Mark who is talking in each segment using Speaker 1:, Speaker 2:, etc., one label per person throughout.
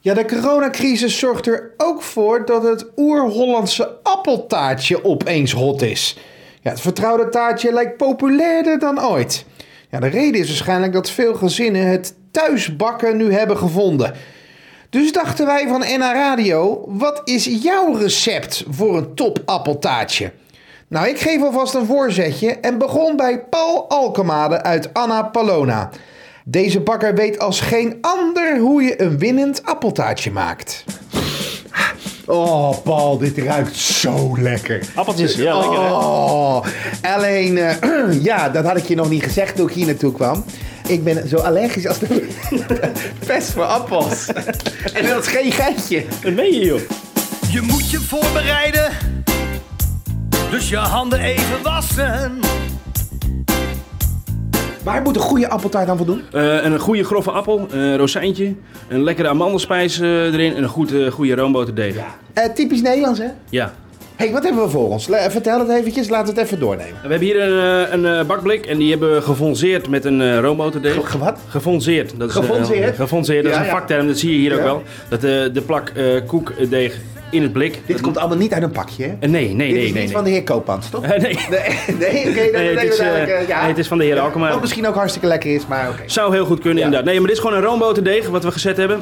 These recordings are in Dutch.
Speaker 1: Ja, de coronacrisis zorgt er ook voor dat het oer-Hollandse appeltaartje opeens hot is. Ja, het vertrouwde taartje lijkt populairder dan ooit. Ja, de reden is waarschijnlijk dat veel gezinnen het thuisbakken nu hebben gevonden. Dus dachten wij van NH Radio, wat is jouw recept voor een top appeltaartje? Nou, ik geef alvast een voorzetje en begon bij Paul Alkemade uit Anna Palona. Deze bakker weet als geen ander hoe je een winnend appeltaartje maakt. Oh, Paul, dit ruikt zo lekker.
Speaker 2: Appeltjes, ja, lekker hè?
Speaker 1: Oh, alleen, eh, ja, dat had ik je nog niet gezegd toen ik hier naartoe kwam. Ik ben zo allergisch als de pest voor appels. en dat is geen geitje.
Speaker 2: Wat meen je joh?
Speaker 3: Je moet je voorbereiden, dus je handen even wassen.
Speaker 1: Waar moet een goede appeltaart aan voldoen?
Speaker 2: Eh, en een goede grove appel, een rozijntje, een lekkere amandelspijs eh, erin en een goed, eh, goede roomboterdeeg. Ja.
Speaker 1: Eh, typisch Nederlands, hè?
Speaker 2: ja.
Speaker 1: hey, wat hebben we voor ons? La- vertel het eventjes, laten we het even doornemen.
Speaker 2: We hebben hier een, eh, een eh, bakblik en die hebben we gefonseerd met een eh, roomboterdeeg.
Speaker 1: Ge- wat?
Speaker 2: Gefonseerd. Dat is, eh,
Speaker 1: Gefonseerd?
Speaker 2: gefonseerd, dat
Speaker 1: Ja,
Speaker 2: is een
Speaker 1: ja.
Speaker 2: vakterm, dat zie je hier ook
Speaker 1: Ja.
Speaker 2: wel. Dat eh, de plak eh, koekdeeg in het blik.
Speaker 1: Dit komt allemaal niet uit een pakje, hè?
Speaker 2: Eh, nee, nee,
Speaker 1: Dit
Speaker 2: nee,
Speaker 1: is
Speaker 2: nee.
Speaker 1: niet van de heer Koopmans, toch?
Speaker 2: Eh, nee.
Speaker 1: Nee, nee, oké, dat
Speaker 2: Nee, het
Speaker 1: nee,
Speaker 2: is, eh,
Speaker 1: ja.
Speaker 2: nee, het is van de heer Alkmaar.
Speaker 1: Wat misschien ook hartstikke lekker is, maar oké.
Speaker 2: Zou heel goed kunnen,
Speaker 1: Ja.
Speaker 2: inderdaad. Nee, maar dit is gewoon een roomboterdeeg wat we gezet hebben.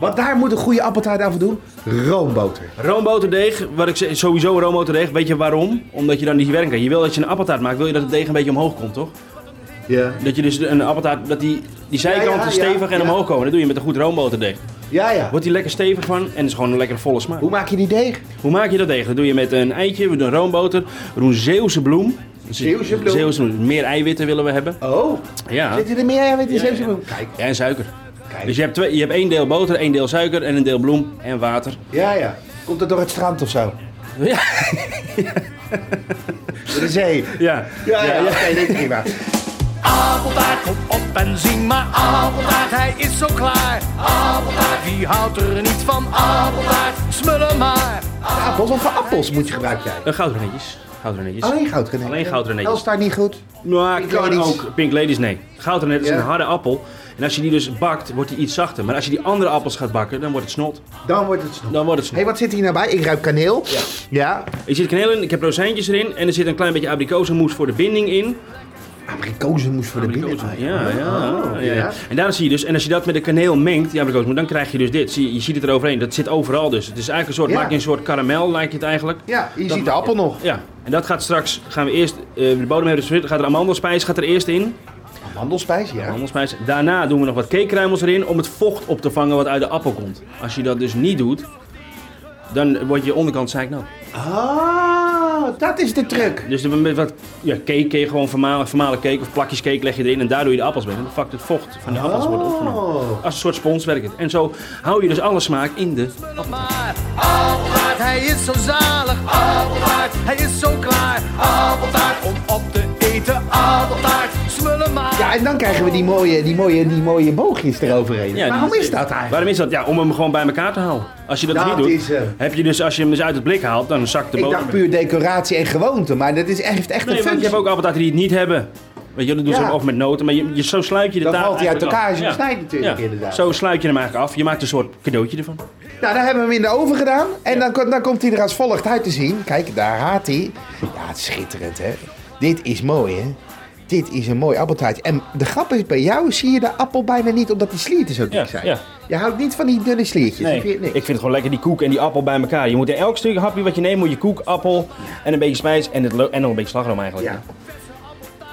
Speaker 1: Want daar moet een goede appeltaart aan voldoen. Roomboter.
Speaker 2: Roomboterdeeg, wat ik zeg, sowieso roomboterdeeg. Weet je waarom? Omdat je dan niet werken kan. Je wil dat je een appeltaart maakt, wil je dat het deeg een beetje omhoog komt, toch?
Speaker 1: Ja.
Speaker 2: Dat je dus een appeltaart, dat die, die zijkanten
Speaker 1: Ja, ja, ja,
Speaker 2: stevig en
Speaker 1: ja.
Speaker 2: omhoog komen. Dat doe je met een goed roomboterdeeg.
Speaker 1: Ja, ja.
Speaker 2: Wordt die lekker stevig van en is gewoon een lekker volle smaak.
Speaker 1: Hoe maak je die deeg?
Speaker 2: Hoe maak je dat deeg? Dat doe je met een eitje, met een roomboter, we doen Zeeuwse bloem. Dus
Speaker 1: Zeeuwse bloem.
Speaker 2: Zeeuwse bloem. Meer eiwitten willen we hebben.
Speaker 1: Oh,
Speaker 2: Ja.
Speaker 1: zitten er meer eiwitten in zeven seconden? Kijk,
Speaker 2: Ja, en suiker.
Speaker 1: kijk.
Speaker 2: Dus je hebt, twee, je hebt één deel boter, één deel suiker en een deel bloem en water.
Speaker 1: Ja, ja. Komt dat door het strand of zo?
Speaker 2: Ja,
Speaker 1: Door de zee?
Speaker 2: ja.
Speaker 1: Ja, ja, ja. Oké, dit is prima.
Speaker 3: Appeltaart, kom op en zing maar appeltaart, hij is zo klaar. Appeltaart, wie houdt er niet van? Appeltaart, smullen maar.
Speaker 1: Appels, wat voor appels moet je gebruiken jij?
Speaker 2: Eh, Goudrenetjes. Goudrenetjes.
Speaker 1: Alleen goudrenet.
Speaker 2: Alleen goudrenet.
Speaker 1: Els daar niet goed.
Speaker 2: Nou,
Speaker 1: Oh, Pink
Speaker 2: kan
Speaker 1: Ladies.
Speaker 2: ook. Pink Ladies, nee. Goudrenet is
Speaker 1: Ja.
Speaker 2: een harde appel. En als je die dus bakt, wordt die iets zachter. Maar als je die andere appels gaat bakken, dan wordt het snot.
Speaker 1: Dan wordt het snel.
Speaker 2: Dan wordt het
Speaker 1: Hé,
Speaker 2: snot.
Speaker 1: hey, wat zit hier nou bij? Ik ruik kaneel. Ja. Ja.
Speaker 2: Ik zit kaneel in, ik heb rozijntjes erin. En er zit een klein beetje abrikozenmoes voor de binding in.
Speaker 1: Abrikozenmoes voor de binnen.
Speaker 2: Abrikozen- Ja, ja,
Speaker 1: Ah, Oh,
Speaker 2: ja, ja.
Speaker 1: ja.
Speaker 2: En daar zie je dus, en als je dat met de kaneel mengt, die abrikozenmoes, dan krijg je dus dit. Zie, je- je ziet het eroverheen. Dat zit overal dus. Het is eigenlijk een soort,
Speaker 1: Ja.
Speaker 2: maak je een soort karamel, lijkt het eigenlijk.
Speaker 1: Ja, je
Speaker 2: Dan-
Speaker 1: ziet de appel nog.
Speaker 2: Ja, en dat gaat straks, gaan we eerst, eh, de bodem hebben dus, gaat er amandelspijs gaat er eerst in.
Speaker 1: Mandelspijs, ja.
Speaker 2: Amandelspijs. Daarna doen we nog wat cakekruimels erin om het vocht op te vangen wat uit de appel komt. Als je dat dus niet doet, dan wordt je onderkant zeiknat.
Speaker 1: Ah, dat is de truc.
Speaker 2: Dus met wat ja, cake, kun je gewoon formale, formale cake of plakjes cake leg je erin en daar doe je de appels mee. En dan vakt het vocht van de appels wordt opgenomen.
Speaker 1: Oh.
Speaker 2: Als een soort spons werkt het. En zo hou je dus alle smaak in de...
Speaker 3: Smullen maar. Appeltaart, hij is zo zalig. Appeltaart, hij is zo klaar. Appeltaart, om op te eten. Appeltaart, smullen maar.
Speaker 1: Ja, en dan krijgen we die mooie, die mooie, die mooie boogjes eroverheen.
Speaker 2: Ja,
Speaker 1: Waarom
Speaker 2: die-
Speaker 1: is dat eigenlijk?
Speaker 2: Waarom is dat? Ja, om hem gewoon bij elkaar te houden. Als je dat,
Speaker 1: Dat
Speaker 2: niet doet,
Speaker 1: is, eh,
Speaker 2: heb je dus, als je hem dus uit het blik haalt, dan zakt de
Speaker 1: Ik
Speaker 2: boter.
Speaker 1: dacht puur decoratie en gewoonte, maar dat is echt, heeft echt
Speaker 2: Nee,
Speaker 1: een
Speaker 2: want je
Speaker 1: functie.
Speaker 2: hebt ook appeltaarten die het niet hebben. Weet je, dat doen ze
Speaker 1: Ja.
Speaker 2: ook met noten, maar je, je, zo sluit je de
Speaker 1: Dan
Speaker 2: taart
Speaker 1: valt hij uit
Speaker 2: eigenlijk
Speaker 1: elkaar als
Speaker 2: af.
Speaker 1: je hem snijdt natuurlijk, inderdaad.
Speaker 2: Zo sluit je hem eigenlijk af. Je maakt een soort cadeautje ervan.
Speaker 1: Nou, dan hebben we hem in de oven gedaan en dan, ko- dan komt hij er als volgt uit te zien. Kijk, daar haat hij. Ja, het is schitterend, hè. Dit is mooi, hè. Dit is een mooi appeltaartje. En de grap is, bij jou zie je de appel bijna niet, omdat die slierten zo dik
Speaker 2: Ja,
Speaker 1: zijn.
Speaker 2: ja.
Speaker 1: Je houdt niet van die dunne sliertjes.
Speaker 2: Nee,
Speaker 1: dat vind je
Speaker 2: ik
Speaker 1: niks.
Speaker 2: vind het gewoon lekker die koek en die appel bij elkaar. Je moet in elk stuk hapje wat je neemt, moet je koek, appel en een beetje spijs en, het lo- en nog een beetje slagroom eigenlijk.
Speaker 1: Ja.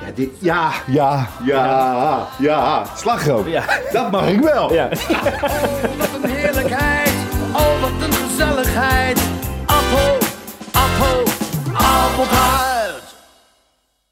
Speaker 1: Ja, dit, ja. Ja. Ja. Ja. Slagroom.
Speaker 2: Ja.
Speaker 1: Dat mag ik wel.
Speaker 2: Ja.
Speaker 3: Wat een heerlijkheid. Oh, wat een gezelligheid. Appel, appel, appeltaart.